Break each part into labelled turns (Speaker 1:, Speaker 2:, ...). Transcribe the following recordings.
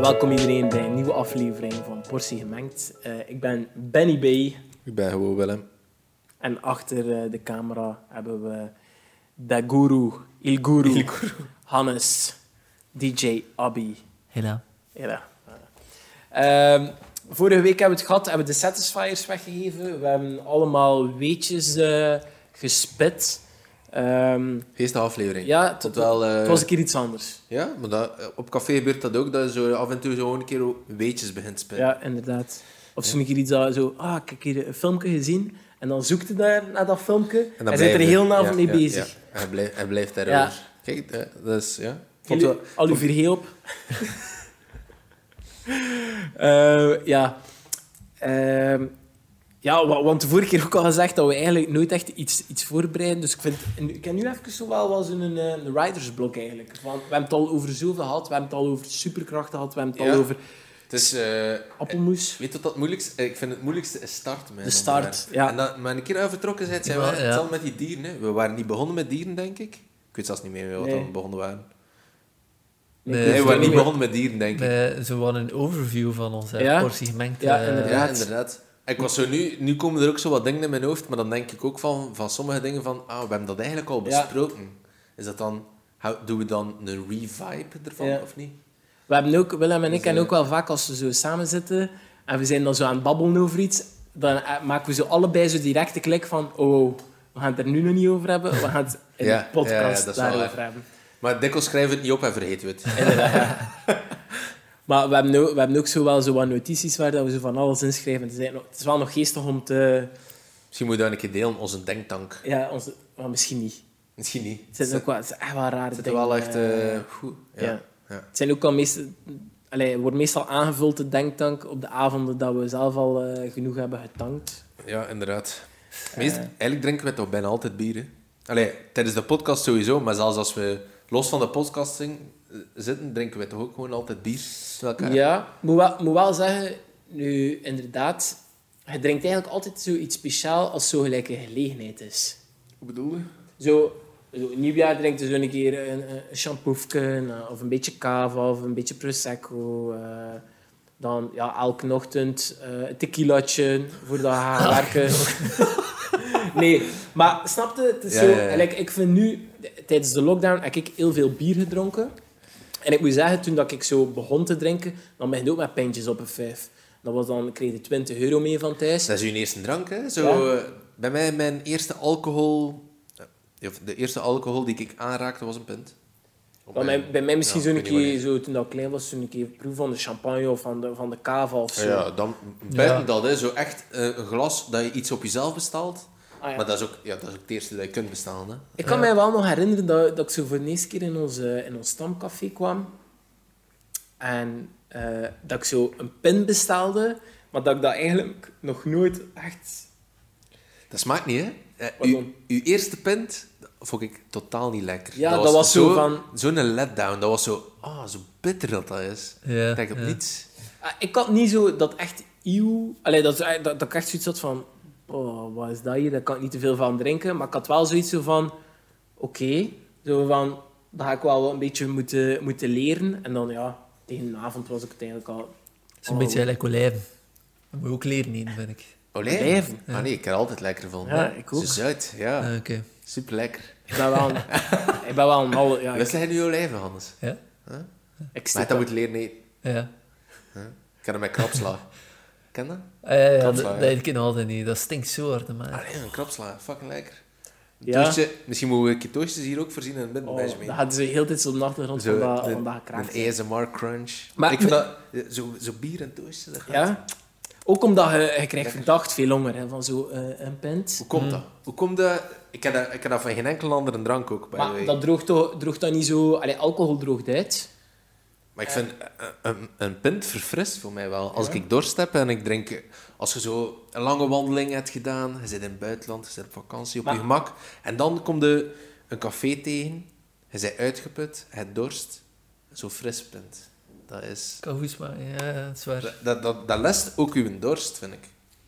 Speaker 1: Welkom iedereen bij een nieuwe aflevering van Portie Gemengd. Eh, ik ben Benny B.
Speaker 2: Ik ben gewoon Willem.
Speaker 1: En achter eh, de camera hebben we de guru, il guru, Hannes, DJ Abby.
Speaker 3: Hela.
Speaker 1: Ja. Ehm, vorige week hebben we het gehad, hebben we de Satisfiers weggegeven. We hebben allemaal weetjes eh, gespit. Ehm,
Speaker 2: Eerste aflevering.
Speaker 1: ja,
Speaker 2: Tot
Speaker 1: tot wel.
Speaker 2: wel, eh,
Speaker 1: Het was een keer iets anders.
Speaker 2: Ja, maar dat, eh, op café gebeurt dat ook, dat je zo af en toe zo een keer weetjes begint te spelen.
Speaker 1: Ja, inderdaad. Eh, Of zo'n keer iets dat zo, ah, ik heb hier een filmpje gezien. En dan zoekt hij daar naar dat filmpje.
Speaker 2: En dan
Speaker 1: Hij zit er
Speaker 2: blijf je-
Speaker 1: heel avond
Speaker 2: ja,
Speaker 1: mee
Speaker 2: ja,
Speaker 1: bezig.
Speaker 2: ja. Hij, blijft, hij blijft daarover.
Speaker 1: Ja.
Speaker 2: Kijk, eh, dat is... Ja. Vond
Speaker 1: Jullie-
Speaker 2: wel-
Speaker 1: Al uw
Speaker 2: vond-
Speaker 1: vier heel op. Eh, ja. Ehm, ja, wa- want de vorige keer ook al gezegd dat we eigenlijk nooit echt iets, iets voorbereiden. Dus ik vind... en Ik heb nu even zo wel wel zo'n een, eh, een ridersblok eigenlijk. Want we hebben het al over zoveel gehad. We hebben het al over superkrachten gehad. We hebben het
Speaker 2: Ja.
Speaker 1: al over
Speaker 2: Het is... eh,
Speaker 1: appelmoes.
Speaker 2: Weet je wat dat moeilijkste... eh, Ik vind het moeilijkste is start, man.
Speaker 1: De start, ja.
Speaker 2: En dat, maar een keer dat we vertrokken zijn, zijn we
Speaker 3: Ja,
Speaker 2: altijd
Speaker 3: ja.
Speaker 2: hetzelfde met die dieren. Hè. We waren niet begonnen met dieren, denk ik. Ik weet zelfs niet meer wat
Speaker 1: Nee.
Speaker 2: we begonnen waren.
Speaker 3: Nee,
Speaker 2: Nee,
Speaker 3: dus
Speaker 2: we waren
Speaker 3: dan-
Speaker 2: niet begonnen met dieren, denk ik.
Speaker 3: Bij, Eh, zo wat een overview van onze
Speaker 1: Ja.
Speaker 3: portie gemengd.
Speaker 1: Ja,
Speaker 3: eh,
Speaker 1: inderdaad.
Speaker 2: Ja, inderdaad. Ik was zo nu, nu komen er ook zo wat dingen in mijn hoofd, maar dan denk ik ook van, van sommige dingen van, ah, we hebben dat eigenlijk al
Speaker 1: Ja.
Speaker 2: besproken. Is dat dan, hou- doen we dan een revive ervan,
Speaker 1: Ja.
Speaker 2: of niet?
Speaker 1: We hebben ook, Willem en ik,
Speaker 2: Dus,
Speaker 1: en
Speaker 2: eh,
Speaker 1: ook wel vaak als we zo samen zitten en we zijn dan zo aan het babbelen over iets, dan eh, maken we zo allebei zo direct de klik van, oh, oh, we gaan het er nu nog niet over hebben, we gaan het in
Speaker 2: Ja,
Speaker 1: de podcast
Speaker 2: ja, ja, dat is wel
Speaker 1: daarover
Speaker 2: waar.
Speaker 1: hebben.
Speaker 2: Maar dikwijls schrijven we het niet op en vergeten we het.
Speaker 1: Maar we hebben, ook, we hebben ook zo wel zo wat notities waar dat we zo van alles inschrijven. Het is, eigenlijk nog- het is wel nog geestig om te...
Speaker 2: Misschien moeten we dat een keer delen, onze denktank.
Speaker 1: Ja, onze, maar misschien niet.
Speaker 2: Misschien niet.
Speaker 1: Het zijn ook wel, het is echt wel rare
Speaker 2: Het zit
Speaker 1: dingen.
Speaker 2: wel echt
Speaker 1: eh.
Speaker 2: eh, goed. Ja.
Speaker 1: ja.
Speaker 2: ja.
Speaker 1: Het zijn ook al meestal... Allee, het wordt meestal aangevuld, de denktank, op de avonden dat we zelf al eh, genoeg hebben getankt.
Speaker 2: Ja, inderdaad.
Speaker 1: Eh.
Speaker 2: Meest, eigenlijk drinken we toch bijna altijd bier, hè? Allee, tijdens de podcast sowieso, maar zelfs als we los van de podcast zing- eh, zitten, drinken we toch ook gewoon altijd bier met elkaar?
Speaker 1: Ja, moet wel, moet wel zeggen, nu inderdaad, je drinkt eigenlijk altijd zoiets speciaal als zo gelijk een gelegenheid is.
Speaker 2: Hoe bedoel je?
Speaker 1: Zo, zo nieuwjaar drinkt je zo een keer een, een champoufke, eh, of een beetje cava, of een beetje prosecco. eh. dan ja, elke ochtend eh, een tequilaatje voordat je gaat werken. nee, maar snapte, het is
Speaker 2: Ja,
Speaker 1: zo...
Speaker 2: ja, ja.
Speaker 1: gelijk, ik vind nu, tijdens de lockdown, heb ik heel veel bier gedronken. En ik moet zeggen, toen dat ik zo begon te drinken, dan ben je ook met pintjes op een vijf. Dat was dan, ik kreeg je 20 euro mee van thuis.
Speaker 2: Dat is uw eerste drank, hè? Zo, eh, Bij mij, mijn eerste alcohol... eh, of De eerste alcohol die ik aanraakte, was een pint. Op
Speaker 1: Bij mij, bij mij misschien
Speaker 2: ja,
Speaker 1: zo'n
Speaker 2: ik weet niet
Speaker 1: keer, zo, toen dat ik klein was, zo'n keer proef van de champagne of van de, van de cava of zo.
Speaker 2: wanneer. Ja, dan, buiten dat, hè, zo echt eh, een glas dat je iets op jezelf bestelt.
Speaker 1: Ah, ja.
Speaker 2: Maar dat is, ook, ja, dat is ook het eerste dat je kunt bestellen. Hè.
Speaker 1: Ik kan mij wel nog herinneren dat, dat ik zo voor de eerste keer in ons, eh, in ons stamcafé kwam. En eh, dat ik zo een pin bestelde, maar dat ik dat eigenlijk nog nooit echt...
Speaker 2: Dat smaakt niet, hè? Eh,
Speaker 1: Waarom?
Speaker 2: uw, uw eerste pint dat vond ik totaal niet lekker.
Speaker 1: Ja, dat was zo van-
Speaker 2: Zo'n letdown. Dat was zo... Ah, zo bitter dat dat is.
Speaker 3: Ja,
Speaker 2: Ik denk op
Speaker 3: ja.
Speaker 2: niets.
Speaker 1: Ah, ik had niet zo dat echt eeuw... Allee, dat, dat, dat ik echt zoiets had van... Oh, wat is dat hier? Daar kan ik niet te veel van drinken. Maar ik had wel zoiets zo van... Oké, zo van... Dat ga ik wel wat een beetje moeten, moeten leren. En dan ja, tegen de avond was ik het eigenlijk al...
Speaker 3: Het is een beetje gelijk olijven. Dat moet je ook leren eten, vind ik.
Speaker 2: Olijven?
Speaker 1: Olijven,
Speaker 2: Ah nee, ik heb er altijd lekker van.
Speaker 1: Ja, ik ook.
Speaker 2: Zo zout, ja.
Speaker 3: Ah, Oké.
Speaker 2: Super lekker.
Speaker 1: Ik ben wel een... ik ben wel een malle- Ja,
Speaker 2: Wist
Speaker 1: Ah, ik,
Speaker 2: jij nu olijven, Hannes?
Speaker 3: Ja?
Speaker 1: ik
Speaker 2: Maar
Speaker 1: stik
Speaker 2: dat
Speaker 1: dat.
Speaker 2: moet leren eten.
Speaker 3: Ja.
Speaker 2: Ik ken dat met krabsla. ken dat?
Speaker 3: Ah, ja, ja, dat,
Speaker 2: Krabsla,
Speaker 3: dat
Speaker 2: ja.
Speaker 3: eet ik nog altijd niet. Dat stinkt zo hard, man.
Speaker 2: Allee, een krabsla. Fucking lekker. Een
Speaker 1: Ja.
Speaker 2: Toastje, misschien moeten we een keer toastjes hier ook voorzien in het midden
Speaker 1: Oh,
Speaker 2: bij mee.
Speaker 1: dat hadden ze heel dit op de achtergrond van dat, van dat gekraakt.
Speaker 2: Een ASMR crunch.
Speaker 1: Maar-
Speaker 2: ik vind dat... Zo, zo bier en toastje, dat gaat.
Speaker 1: Ja? Ook omdat je, je krijgt verdacht veel honger hè, van zo eh, een pint.
Speaker 2: Hoe komt dat? Hoe komt dat? Ik heb dat, ik heb dat van geen enkele andere drank ook, by the way.
Speaker 1: Maar dat droogt, toch, droogt dat niet zo... Allee, alcohol droogt uit.
Speaker 2: Maar ik vind eh, een, een pint verfrist voor mij wel. Als ik dorst heb en ik drink... eh, Als je zo een lange wandeling hebt gedaan, je zit in het buitenland, je zit op vakantie, op
Speaker 1: Maar-
Speaker 2: je gemak. En dan komt er een café tegen, je bent uitgeput, het dorst. Zo'n fris pint. Dat is...
Speaker 3: Kan goed smaken, ja, ja, dat is waar.
Speaker 2: Dat, dat, dat, dat lest ook uw dorst, vind ik.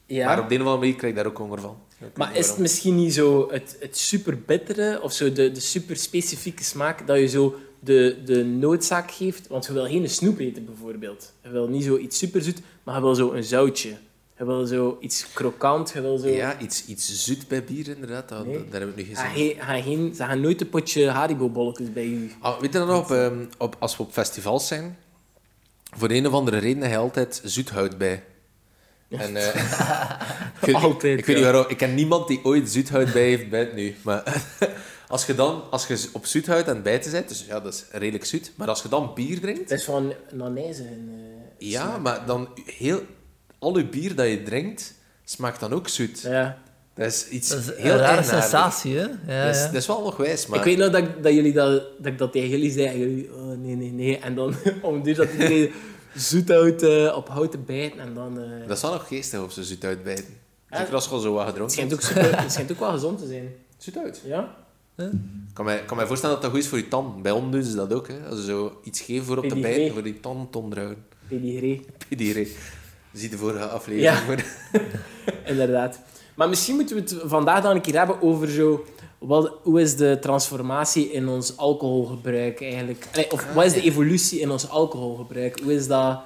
Speaker 1: Ja.
Speaker 2: Maar op de een of andere manier krijg ik daar ook honger van. Ik weet
Speaker 1: Maar
Speaker 2: niet
Speaker 1: is het
Speaker 2: waarom.
Speaker 1: misschien niet zo het, het super bittere of zo de, de super specifieke smaak dat je zo de, de noodzaak geeft. Want je wil geen snoep eten, bijvoorbeeld. Je wil niet zoiets superzoet, maar je wil zo een zoutje. Je wil zo iets krokant, je wil zo...
Speaker 2: Ja, iets, iets zoet bij bier, inderdaad. Dat,
Speaker 1: Nee. Ah,
Speaker 2: dat- Daar heb ik nu gezien.
Speaker 1: Ga geen- ga geen, ze gaan nooit een potje Haribo-bolletjes bij u.
Speaker 2: Ah, weet je dan nog, op, ehm, op, als we op festivals zijn, voor een of andere reden heb je altijd zoet hout bij. En, eh, ik weet-
Speaker 1: Altijd,
Speaker 2: Ik, weet
Speaker 1: ja.
Speaker 2: niet waarom. Ik ken niemand die ooit zoet hout bij heeft bij het nu. Maar als je dan als je op zoet hout aan het bijten bent, dus ja, dat is redelijk zoet. Maar als je dan bier drinkt,
Speaker 1: Het is van nanijzen. eh,
Speaker 2: ja, maar dan heel, al je bier dat je drinkt, smaakt dan ook zoet.
Speaker 1: Ja.
Speaker 2: Dat is iets
Speaker 3: Dat is
Speaker 2: heel
Speaker 3: een rare
Speaker 2: eigenaardigs.
Speaker 3: sensatie, hè? Ja,
Speaker 2: Dat is,
Speaker 3: ja.
Speaker 2: dat is wel nog wijs, maar...
Speaker 1: Ik weet nog dat, ik- dat, jullie dat, dat ik dat tegen jullie zei. En jullie, oh, nee, nee, nee. En dan om duur dat iedereen zoet houdt, eh, op hout te bijten. En dan... eh,
Speaker 2: Dat zou nog geestig of ze zoet uitbijten.
Speaker 1: Ja.
Speaker 2: Zeker als je al zo wat
Speaker 1: het,
Speaker 2: gedronken
Speaker 1: schijnt
Speaker 2: hebt.
Speaker 1: ook super- het schijnt ook wel gezond te zijn.
Speaker 2: Zoet uit.
Speaker 1: Ja?
Speaker 2: Ik kan mij, kan mij voorstellen dat dat goed is voor je tanden. Bij ons doen ze dat ook. Hè. Als ze zo iets geven voor op de
Speaker 1: Pedigree.
Speaker 2: bijten, voor die tanden te onderhouden.
Speaker 1: Pedigree.
Speaker 2: Pedigree. Zie de vorige aflevering.
Speaker 1: Inderdaad. Maar misschien moeten we het vandaag dan een keer hebben over zo... Wat, hoe is de transformatie in ons alcoholgebruik eigenlijk? Allee,
Speaker 2: Ah,
Speaker 1: of wat is de evolutie in ons alcoholgebruik? Hoe is dat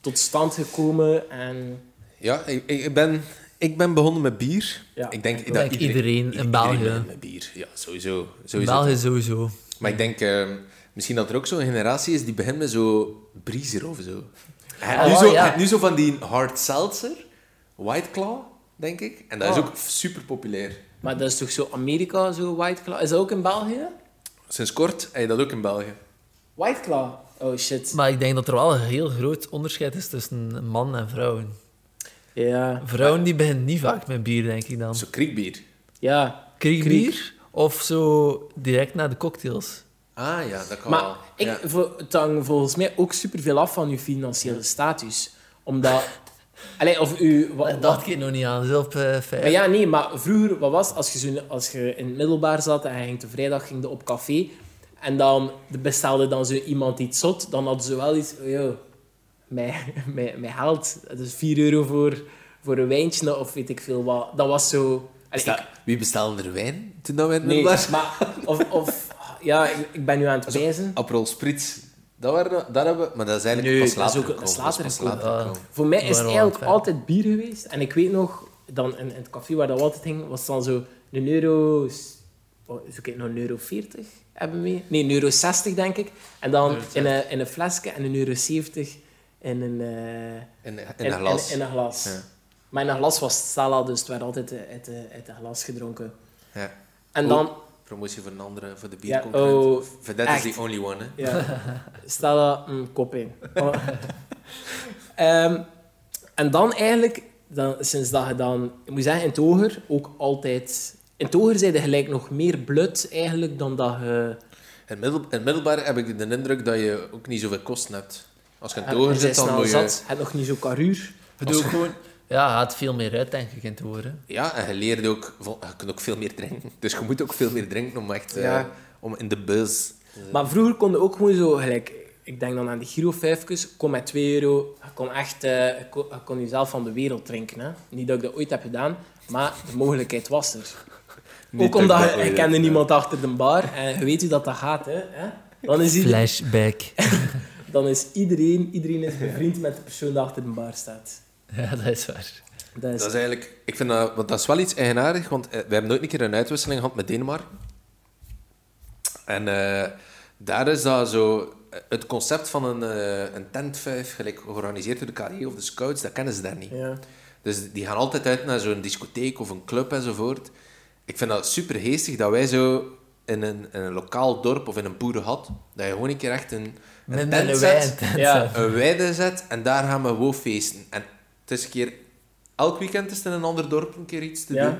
Speaker 1: tot stand gekomen? En
Speaker 2: Ja, ik, ik, ben, ik ben begonnen met bier.
Speaker 1: Ja.
Speaker 2: ik denk
Speaker 3: Denk iedereen in België.
Speaker 2: begint met bier. Ja, sowieso. sowieso.
Speaker 3: België sowieso.
Speaker 2: Maar ik denk ehm, misschien dat er ook zo'n generatie is die begint met zo briezer of zo. Je hebt
Speaker 3: Ah,
Speaker 2: nu,
Speaker 3: wel,
Speaker 2: zo
Speaker 3: ja.
Speaker 2: je hebt nu zo van die hard seltzer, White Claw, denk ik. En dat is
Speaker 1: Ah.
Speaker 2: ook super populair.
Speaker 1: Maar dat is toch zo Amerika, zo White Claw? Is dat ook in België?
Speaker 2: Sinds kort heb je dat ook in België.
Speaker 1: White Claw? Oh shit.
Speaker 3: Maar ik denk dat er wel een heel groot onderscheid is tussen man en vrouwen.
Speaker 1: Ja.
Speaker 3: Vrouwen die beginnen niet vaak met bier, denk ik dan.
Speaker 2: Zo kriekbier.
Speaker 1: Ja.
Speaker 3: Kriekbier of zo direct na de cocktails.
Speaker 2: Ah ja, dat kan wel.
Speaker 1: Maar ik,
Speaker 2: Ja.
Speaker 1: vo- het hangt volgens mij ook superveel af van uw financiële status. Omdat... Allee, of u... wa-
Speaker 3: Dat
Speaker 1: wa-
Speaker 3: dacht ik nog niet aan, zelf eh
Speaker 1: Maar
Speaker 3: feit.
Speaker 1: ja, nee, maar vroeger, wat was het? als je, zo, als je in het middelbaar zat en je ging de vrijdag ging je op café en dan bestelde dan zo iemand iets zot, dan hadden ze wel iets, oh joh, mijn, mijn, mijn geld, dus 4 euro voor, voor een wijntje of weet ik veel wat. Dat was zo... Allee,
Speaker 2: Besta-
Speaker 1: ik-
Speaker 2: Wie bestelde er wijn toen dat we in het
Speaker 1: nee,
Speaker 2: middelbaar zaten?
Speaker 1: maar... Of, of ja, ik, ik ben nu aan het wijzen.
Speaker 2: Aperol Spritz. Dat, waren, dat hebben we... Maar dat is eigenlijk
Speaker 1: Nee,
Speaker 2: pas
Speaker 1: dat is
Speaker 2: later
Speaker 1: ook- dat is
Speaker 2: gekomen.
Speaker 1: later
Speaker 2: pas
Speaker 1: gekomen.
Speaker 3: Ja.
Speaker 2: gekomen.
Speaker 1: Voor mij is
Speaker 3: Waarom
Speaker 1: het eigenlijk
Speaker 3: wel?
Speaker 1: altijd bier geweest. En ik weet nog, dan in, in het café waar dat we altijd ging, was het dan zo een euro... s- Oh, zoek ik nog een euro 40 hebben we mee? Nee, een euro 60 denk ik. En dan in een, in een flesje en een euro 70 in een, eh,
Speaker 2: In, in, een glas.
Speaker 1: In, in een glas.
Speaker 2: Ja.
Speaker 1: Maar in een glas was het Stella, dus het werd altijd eh, uit, de uit een glas gedronken.
Speaker 2: Ja.
Speaker 1: En
Speaker 2: Oh.
Speaker 1: dan...
Speaker 2: Promotie voor een andere, voor de
Speaker 1: Ja,
Speaker 2: bierconcurrent.
Speaker 1: oh,
Speaker 2: Vedette
Speaker 1: echt.
Speaker 2: is the only one, hè.
Speaker 1: Ja. Stella, mm, kop in. Oh. Ehm, en dan eigenlijk, dan, sinds dat je dan... Ik moet zeggen, in het hoger ook altijd... In het hoger zijn je gelijk nog meer blut eigenlijk dan dat je...
Speaker 2: In, middel, in het middelbaar heb ik de indruk dat je ook niet zoveel kosten hebt. Als je in het
Speaker 1: je
Speaker 2: hoger
Speaker 1: bent
Speaker 2: zit, dan eh,
Speaker 1: snel
Speaker 2: moet je...
Speaker 1: zat, je hebt nog niet zo karuur.
Speaker 3: Je doet ook gewoon... Ja, het gaat veel meer uit, denk ik, in het horen.
Speaker 2: Ja, en je leert ook... vol- Je kunt ook veel meer drinken. Dus je moet ook veel meer drinken om echt... eh,
Speaker 1: Ja.
Speaker 2: om in de bus...
Speaker 1: Maar vroeger kon je ook gewoon zo gelijk... Ik denk dan aan de Giro 5, kom met 2 euro. Je kon echt... eh, je kon, je kon jezelf van de wereld drinken. Hè? Niet dat ik dat ooit heb gedaan, maar de mogelijkheid was er.
Speaker 2: Niet
Speaker 1: ook omdat
Speaker 2: dat ik
Speaker 1: je,
Speaker 2: dat
Speaker 1: je
Speaker 2: ooit
Speaker 1: kende
Speaker 2: heb
Speaker 1: niemand achter de bar en je weet hoe dat, dat gaat. Hè? hè? Dan is, ieder-
Speaker 3: Flashback.
Speaker 1: dan is iedereen, iedereen is bevriend met de persoon die achter de bar staat.
Speaker 3: Ja, dat is waar.
Speaker 1: Dat is,
Speaker 2: Dat is eigenlijk, ik vind dat, want dat is wel iets eigenaardig, want eh, we hebben nooit een keer een uitwisseling gehad met Denemarken. En eh, daar is dat zo, eh, het concept van een, eh een tentvuif, gelijk georganiseerd door de KD of de scouts, dat kennen ze daar niet.
Speaker 1: ja.
Speaker 2: Dus die gaan altijd uit naar zo'n discotheek of een club enzovoort. Ik vind dat super geestig dat wij zo in een, in een lokaal dorp of in een boerenhad, dat je gewoon een keer echt een, een
Speaker 3: Met
Speaker 2: tent
Speaker 3: een
Speaker 2: zet
Speaker 3: wijn.
Speaker 1: Ja.
Speaker 2: eh, een weide zet en daar gaan we wow feesten. En het is een keer... Elk weekend is het in een ander dorp een keer iets te
Speaker 1: Ja.
Speaker 2: doen.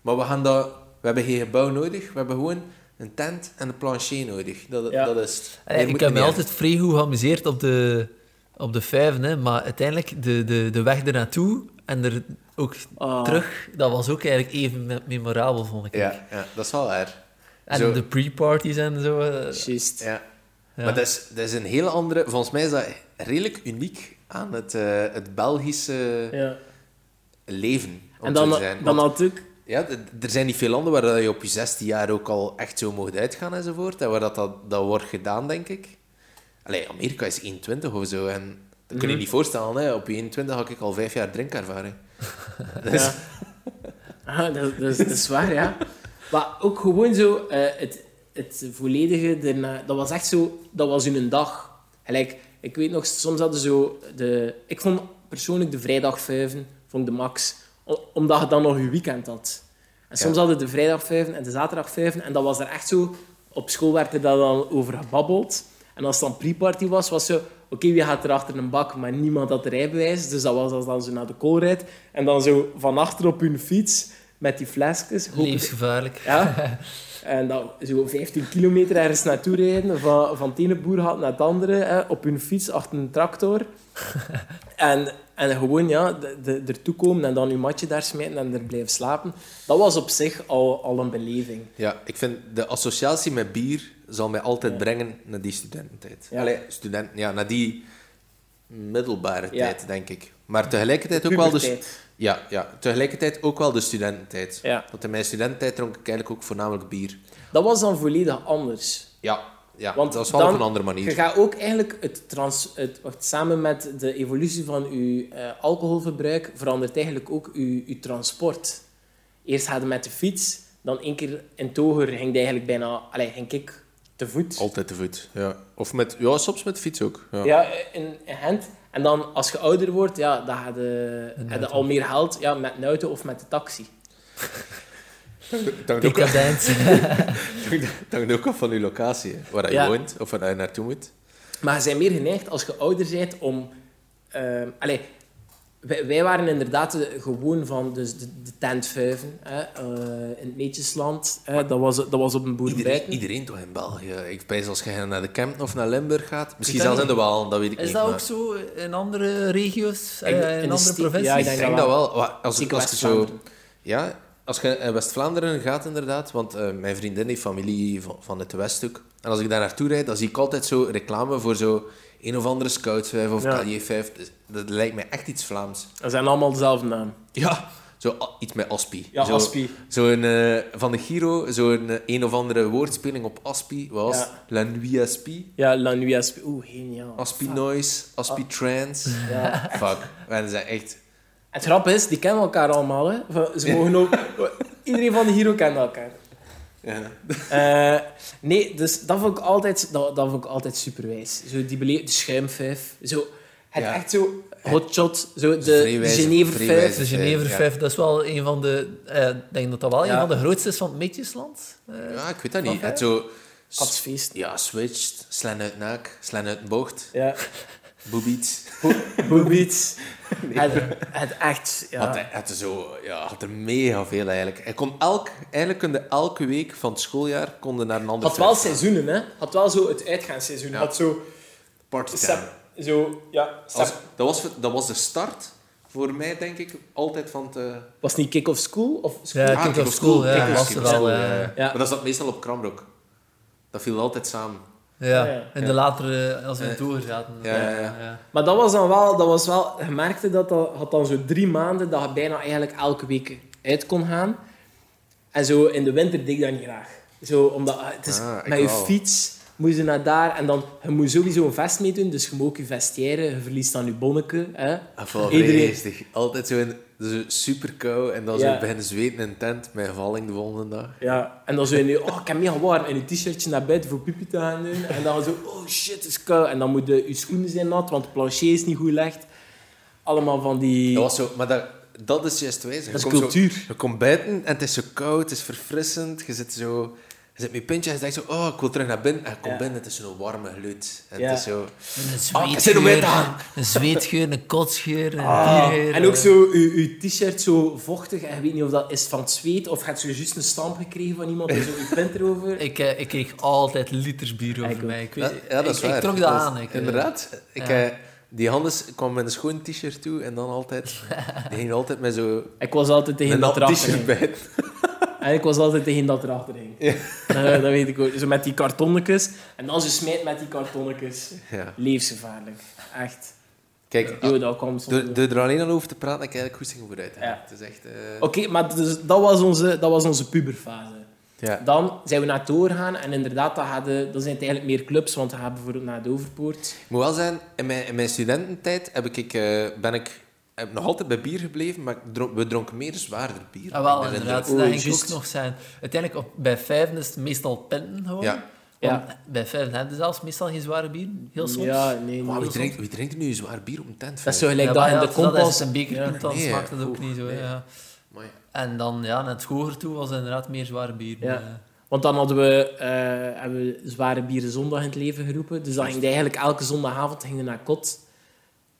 Speaker 2: Maar we gaan dat... We hebben geen gebouw nodig. We hebben gewoon een tent en een plancher nodig. Dat,
Speaker 1: Ja.
Speaker 2: dat is het.
Speaker 3: Allee,
Speaker 2: Meer moet
Speaker 3: ik heb
Speaker 2: niet
Speaker 3: me
Speaker 2: hebben.
Speaker 3: altijd vrij goed geamuseerd op de, op de vijven, hè, maar uiteindelijk de, de, de weg ernaartoe en er ook
Speaker 1: Ah.
Speaker 3: terug, dat was ook eigenlijk even me- memorabel, vond ik.
Speaker 2: Ja, ja, dat is wel waar.
Speaker 3: En
Speaker 2: Zo.
Speaker 3: de pre-parties en zo. eh,
Speaker 1: Juist.
Speaker 2: Ja.
Speaker 3: Ja.
Speaker 2: Maar dat is, dat is een hele andere... Volgens mij is dat redelijk uniek aan het, eh, het Belgische
Speaker 1: Ja.
Speaker 2: leven. om
Speaker 1: En
Speaker 2: zo
Speaker 1: dan,
Speaker 2: te zijn.
Speaker 1: dan
Speaker 2: Want
Speaker 1: had ik...
Speaker 2: Ja, d- er zijn niet veel landen waar dat je op je 16 jaar ook al echt zo mocht uitgaan enzovoort. En waar dat, dat, dat wordt gedaan, denk ik. Allee, Amerika is 21 of zo. En dat kun
Speaker 1: Mhm.
Speaker 2: je niet voorstellen, hè. Op je 21 had ik al vijf jaar drinkervaring. Dus,
Speaker 1: Ja. Ah, dat, dat, is, dat is waar, ja. Maar ook gewoon zo, eh, het, het volledige, erna- dat was echt zo, dat was in een dag. Gelijk, ik weet nog, soms hadden zo de... Ik vond persoonlijk de vrijdagvijven, vond ik de max. O- Omdat je dan nog je weekend had. En soms hadden de vrijdagvijven en de zaterdagvijven. En dat was er echt zo, op school werd er daar dan over gebabbeld. En als het dan pre-party was, was zo... Oké, wie gaat er achter een bak? Maar niemand had rijbewijs. Dus dat was als dan zo naar de koolrijd. En dan zo van achter op hun fiets met die flesjes. hopen-
Speaker 3: Levensgevaarlijk.
Speaker 1: ja. En dan zo 15 kilometer ergens naartoe rijden, van, van het ene boergat naar het andere, hè, op hun fiets achter een tractor. En, en gewoon ja, de, de, ertoe komen en dan uw matje daar smijten en er blijven slapen. Dat was op zich al, al een beleving.
Speaker 2: ja, ik vind de associatie met bier zal mij altijd brengen naar die studententijd.
Speaker 1: Ja.
Speaker 2: Allee, studenten, ja, naar die middelbare
Speaker 1: Ja.
Speaker 2: tijd, denk ik. Maar tegelijkertijd ook wel... Dus,
Speaker 1: Puberteit.
Speaker 2: ja, ja, tegelijkertijd ook wel de studententijd.
Speaker 1: Ja.
Speaker 2: Want in mijn studententijd dronk ik eigenlijk ook voornamelijk bier.
Speaker 1: Dat was dan volledig anders.
Speaker 2: Ja, ja
Speaker 1: Want
Speaker 2: dat is wel
Speaker 1: dan-
Speaker 2: op een andere manier.
Speaker 1: Je gaat ook eigenlijk het trans, het, wacht, samen met de evolutie van je eh, alcoholverbruik verandert eigenlijk ook je, je transport. Eerst gaat je met de fiets, dan één keer in Toger ging je eigenlijk bijna, allez, ging ik te voet.
Speaker 2: Altijd te voet. Ja. Of met, ja, soms met fiets ook. Ja.
Speaker 1: Ja, in, in Gent. En dan als je ouder wordt, ja, dan heb je, heb je
Speaker 3: auto.
Speaker 1: al meer geld ja, met een auto of met de taxi.
Speaker 2: Het hangt ook-
Speaker 3: Decadent.
Speaker 2: het hangt ook af van je locatie, hè. waar je
Speaker 1: Ja.
Speaker 2: woont of waar je naartoe moet.
Speaker 1: Maar ze zijn meer geneigd als je ouder bent om. ehm allee, wij, wij waren inderdaad de- gewoon van dus de, de tentvuiven hè, eh, in het Netjesland. Hè, dat, was, dat was op een boerderij.
Speaker 2: Iedereen, iedereen toch in België. Ik wijs als je naar de Kempten of naar Limburg gaat. Misschien
Speaker 3: dat
Speaker 2: zelfs in
Speaker 3: niet.
Speaker 2: de Waal, dat weet ik
Speaker 3: Is
Speaker 2: niet.
Speaker 3: dat
Speaker 2: maar
Speaker 3: ook zo in andere regio's,
Speaker 1: in
Speaker 3: eh,
Speaker 1: de-
Speaker 3: in,
Speaker 1: in de
Speaker 3: andere
Speaker 1: ste-
Speaker 3: provincies?
Speaker 1: ja,
Speaker 2: Ik denk dat wel. Wa- Als, ik- als je zo, ja, als je in West-Vlaanderen gaat, inderdaad. Want eh, mijn vriendin heeft familie van, van het Westhoek. En als ik daar naartoe rijd, dan zie ik altijd zo reclame voor zo een of andere Scout 5 of
Speaker 1: Ja.
Speaker 2: KJ 5. Dus Dat lijkt mij echt iets Vlaams.
Speaker 1: Dat zijn allemaal dezelfde naam.
Speaker 2: Ja, zo a- iets met Aspie.
Speaker 1: Ja,
Speaker 2: zo,
Speaker 1: Aspie.
Speaker 2: Zo'n eh, van de Giro, zo'n eh, een of andere woordspeling op Aspie. Wat was
Speaker 1: Ja.
Speaker 2: het? La Nuit Aspie?
Speaker 1: Ja, La Nuit Aspi- Oeh, geniaal.
Speaker 2: Aspie Noise, Aspie Trance.
Speaker 1: Ja.
Speaker 2: Fuck, wij zijn echt...
Speaker 1: Het grap is, die kennen elkaar allemaal. Hè. Van- Ze mogen ook, iedereen van de Hero kent elkaar.
Speaker 2: Ja.
Speaker 1: Eh, nee, dus dat vond ik altijd, dat, dat vond ik altijd superwijs. Zo die bele- de schuimvijf. Zo, het
Speaker 2: Ja.
Speaker 1: echt zo hotshot. Zo de
Speaker 2: Vrijwijze-
Speaker 1: Genevervijf.
Speaker 2: vrijwijze.
Speaker 3: De Dus Genever
Speaker 2: Ja.
Speaker 3: 5, dat is wel een van de... eh, Ik denk dat dat wel
Speaker 1: Ja.
Speaker 3: een van de grootste is van het Meetjesland. Eh,
Speaker 2: ja, ik weet dat niet.
Speaker 3: Oké.
Speaker 2: Het zo... s-
Speaker 1: Katsfeest.
Speaker 2: Ja, switched, slaan uit naak, slaan uit een bocht,
Speaker 1: Ja.
Speaker 2: boobies.
Speaker 1: Boobies. het, het echt,
Speaker 2: Had,
Speaker 1: ja.
Speaker 2: hij- had, hij zo, ja, had er mega veel eigenlijk. Hij kon elk, eigenlijk konden elke week van het schooljaar konden naar een ander
Speaker 1: Had wel
Speaker 2: feest.
Speaker 1: seizoenen, hè. Had wel zo het uitgaansseizoen.
Speaker 2: Ja.
Speaker 1: Had zo...
Speaker 2: Partytime.
Speaker 1: sep- zo, ja. sep-
Speaker 2: Als- dat, was, dat was de start voor mij, denk ik, altijd van het... eh,
Speaker 1: was het niet kick-off school? Of school?
Speaker 3: Ja,
Speaker 2: ah,
Speaker 3: kick-off
Speaker 2: kick-off
Speaker 3: school, ja,
Speaker 2: kick-off
Speaker 3: was
Speaker 2: school,
Speaker 3: er wel,
Speaker 2: school,
Speaker 3: eh,
Speaker 2: ja. Maar dat zat meestal op Kramrok. Dat viel altijd samen.
Speaker 3: Ja,
Speaker 1: Ja, ja.
Speaker 3: in de latere, als we in
Speaker 2: Eh,
Speaker 3: toer zaten.
Speaker 2: ja, ja, ja.
Speaker 1: Maar dat was dan wel, dat was wel je merkte dat dat had dan zo drie maanden dat je bijna eigenlijk elke week uit kon gaan. En zo in de winter deed ik dat niet graag. Zo, omdat ah, het is,
Speaker 2: Ah, ik
Speaker 1: met je
Speaker 2: wel.
Speaker 1: fiets moest je naar daar en dan je moet sowieso een vest meedoen, dus je moet ook je vestiaire, je verliest dan je bonneke. Hè? Iedereen-
Speaker 2: Iedereen. Altijd zo, in, zo super kou en dan
Speaker 1: Ja.
Speaker 2: zo beginnen zweten in een tent met een valling de volgende dag.
Speaker 1: Ja, en dan zo in je, oh, ik heb mega warm, en je t-shirtje naar bed voor pipi te gaan doen. En dan zo, oh shit, het is koud. En dan moeten je schoenen zijn nat, want het plancher is niet goed licht. Allemaal van die...
Speaker 2: Dat was zo, maar dat, dat is juist wijs. Je
Speaker 1: Dat is
Speaker 2: komt zo-
Speaker 1: cultuur.
Speaker 2: je komt buiten en het is zo koud, het is verfrissend. Je zit zo... Je zit met je pintje en je denkt zo, oh, ik wil terug naar binnen. En je komt
Speaker 1: Ja.
Speaker 2: binnen, het is zo'n warme gluut. En
Speaker 1: Ja.
Speaker 2: het is zo...
Speaker 3: Een
Speaker 2: Ah, ik zit er weer aan.
Speaker 3: zweetgeur, een zweetgeur, een kotsgeur, een
Speaker 1: Ah,
Speaker 3: biergeur,
Speaker 1: en ook
Speaker 3: eh.
Speaker 1: zo, uw, uw t-shirt zo vochtig en je weet niet of dat is van het zweet of je hebt zo juist een stamp gekregen van iemand en zo uw pint erover.
Speaker 3: Ik, eh, ik kreeg altijd liters bier over
Speaker 1: Ik ook.
Speaker 3: mij. Ik,
Speaker 2: Ja,
Speaker 3: weet,
Speaker 2: ja, dat is
Speaker 3: ik, ik
Speaker 2: waar.
Speaker 3: trok dat
Speaker 2: is-
Speaker 3: aan. Ik, eh,
Speaker 2: inderdaad. Ik,
Speaker 3: ja.
Speaker 2: eh, die Hannes kwam met een schoon t-shirt toe en dan altijd... Die ging altijd met zo...
Speaker 1: Ik was altijd tegen
Speaker 2: Een
Speaker 1: dat
Speaker 2: nat
Speaker 1: erachter ging.
Speaker 2: t-shirt bij.
Speaker 1: En ik was altijd tegen dat erachter ging. Eh, dat weet ik ook. Zo met die kartonnetjes. En dan ze smijt met die kartonnetjes.
Speaker 2: Ja.
Speaker 1: Leefgevaarlijk. Echt.
Speaker 2: Kijk,
Speaker 1: Jo, dat komt soms
Speaker 2: door,
Speaker 1: door.
Speaker 2: door er alleen al over te praten, heb ik eigenlijk goed zin vooruit. hè.
Speaker 1: Ja.
Speaker 2: Het is echt... eh,
Speaker 1: Oké, maar dus, dat, was onze, dat was onze puberfase.
Speaker 2: ja.
Speaker 1: Dan zijn we naar het doorgaan en inderdaad, dat gaat de- dan zijn het eigenlijk meer clubs, want we gaan bijvoorbeeld naar Doverpoort.
Speaker 2: Ik moet wel zijn, in mijn, in mijn studententijd heb ik, ik, eh, ben ik heb nog altijd bij bier gebleven, maar ik dronk- we dronken meer zwaarder bier.
Speaker 3: Ah, wel,
Speaker 2: Ik ben in de-
Speaker 3: inderdaad.
Speaker 1: Oei,
Speaker 3: dat ging ook
Speaker 1: juist.
Speaker 3: nog zijn. Uiteindelijk, op, bij vijven is het meestal pinten gewoon.
Speaker 2: Ja.
Speaker 1: Ja.
Speaker 3: Want Bij vijven hebben ze zelfs meestal geen zware bier. Heel soms.
Speaker 1: Ja, nee,
Speaker 2: Maar
Speaker 1: nee.
Speaker 2: wie drinkt, wie drinkt er nu zwaar bier op een tent?
Speaker 1: Dat is zo
Speaker 3: Ja,
Speaker 1: gelijk
Speaker 3: maar
Speaker 1: dat in
Speaker 3: ja,
Speaker 1: de
Speaker 3: als dat
Speaker 1: kompas...
Speaker 3: is een beker
Speaker 1: Ja.
Speaker 3: komt, dan
Speaker 2: Nee,
Speaker 3: smaakt het ook
Speaker 2: oeh,
Speaker 3: niet zo.
Speaker 2: nee.
Speaker 3: Ja. En dan, ja, net hoger toe was inderdaad meer zware bier.
Speaker 1: Ja.
Speaker 3: Eh,
Speaker 1: Want dan hadden we, eh, hebben we Zware Bieren Zondag in het leven geroepen. Dus dan ging eigenlijk elke zondagavond gingen naar kot.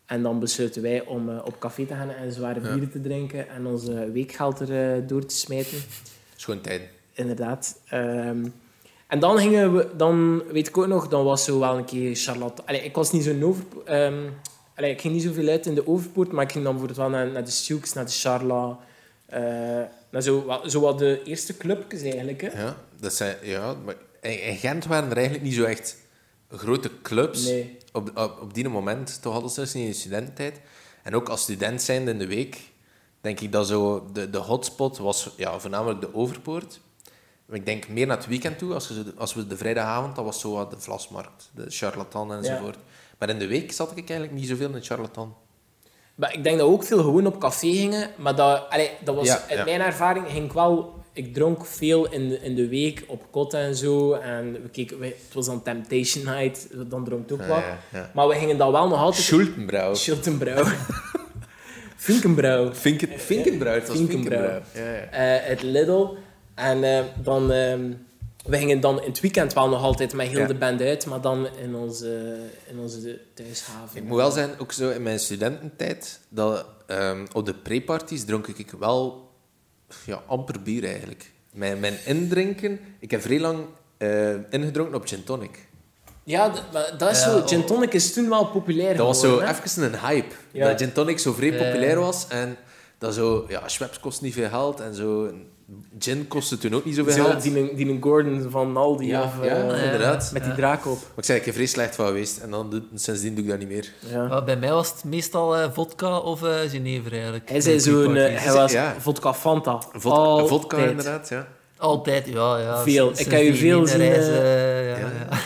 Speaker 1: En dan besloten wij om eh, op café te gaan en zware
Speaker 2: Ja.
Speaker 1: bieren te drinken. En onze weekgeld er eh, door te smijten.
Speaker 2: Schoon tijd.
Speaker 1: Inderdaad. Ehm, en dan gingen we, dan weet ik ook nog, dan was zo wel een keer Charlotte. Allee, ik was niet zo'n over. ehm, allee, ik ging niet zoveel uit in de overpoort, maar ik ging dan bijvoorbeeld wel naar, naar de Stukes, naar de Charla. eh, naar zo, wat- zo wat de eerste clubjes eigenlijk. Hè.
Speaker 2: Ja, dat zijn, ja, maar in, in Gent waren er eigenlijk niet zo echt grote clubs.
Speaker 1: Nee.
Speaker 2: Op, op, op die moment, toch hadden ze dus niet in de studententijd. En ook als student zijnde in de week, denk ik dat zo de, de hotspot was ja, voornamelijk de Overpoort. Maar Ik denk meer naar het weekend toe, als, je zo de- als we de vrijdagavond, dat was zo wat de Vlasmarkt, de charlatan enzovoort. Maar in de week zat ik eigenlijk niet zoveel in de charlatan.
Speaker 1: Maar ik denk dat we ook veel gewoon op café gingen. Maar dat, allee, dat was,
Speaker 2: Ja,
Speaker 1: uit
Speaker 2: ja.
Speaker 1: mijn ervaring ging ik wel... Ik dronk veel in de, in de week op kot en zo. En we keken, we- het was dan Temptation Night, dan dronk ik ook wat.
Speaker 2: ja, ja.
Speaker 1: Maar we gingen dan wel nog altijd...
Speaker 2: Schultenbrouw.
Speaker 1: Schiltenbrouw. Finkenbrouw.
Speaker 2: Vinken, Vinkenbrouw, het was
Speaker 1: Vinkenbrouw.
Speaker 2: Vinkenbrouw. Ja, ja.
Speaker 1: eh het Lidl. En eh, dan... ehm, we gingen dan in het weekend wel nog altijd met heel
Speaker 2: Ja.
Speaker 1: de band uit, maar dan in onze, in onze thuishaven.
Speaker 2: Ik moet wel zijn, ook zo in mijn studententijd, dat, ehm, op de pre-parties dronk ik wel ja, amper bier eigenlijk. Mijn, mijn indrinken, ik heb vrij lang eh, ingedronken op gin tonic.
Speaker 1: Ja, d- maar dat is
Speaker 3: Ja,
Speaker 1: zo...
Speaker 3: oh.
Speaker 1: Gin tonic is toen wel populair
Speaker 2: Dat was zo
Speaker 1: geworden, hè?
Speaker 2: even een hype.
Speaker 1: Ja.
Speaker 2: Dat gin tonic zo vrij
Speaker 3: Ja.
Speaker 2: populair was en dat zo, ja, Schweppes kost niet veel geld en zo. Gin kostte toen ook niet zoveel
Speaker 1: Zo,
Speaker 2: geld.
Speaker 1: die, een- die een Gordon van Aldi
Speaker 2: Ja,
Speaker 1: of,
Speaker 2: ja,
Speaker 1: eh,
Speaker 2: inderdaad.
Speaker 1: met
Speaker 3: Ja.
Speaker 1: die draak op.
Speaker 2: Maar ik zei, ik heb vrij slecht van geweest en dan, doe- sindsdien doe ik dat niet meer.
Speaker 1: Ja.
Speaker 3: maar bij mij was het meestal eh, vodka of eh Genever eigenlijk.
Speaker 1: Hij zei
Speaker 3: De drie
Speaker 1: zo'n... eh,
Speaker 3: parties.
Speaker 1: hij was
Speaker 2: Ja.
Speaker 1: vodka Fanta.
Speaker 2: Vod-
Speaker 1: Altijd.
Speaker 2: vodka inderdaad, ja.
Speaker 3: Altijd, ja. ja
Speaker 1: Veel.
Speaker 3: Sinds-
Speaker 1: Ik heb je
Speaker 3: sinds die
Speaker 1: veel
Speaker 3: ene
Speaker 1: zien,
Speaker 3: reis,
Speaker 1: eh,
Speaker 3: eh, ja,
Speaker 2: ja.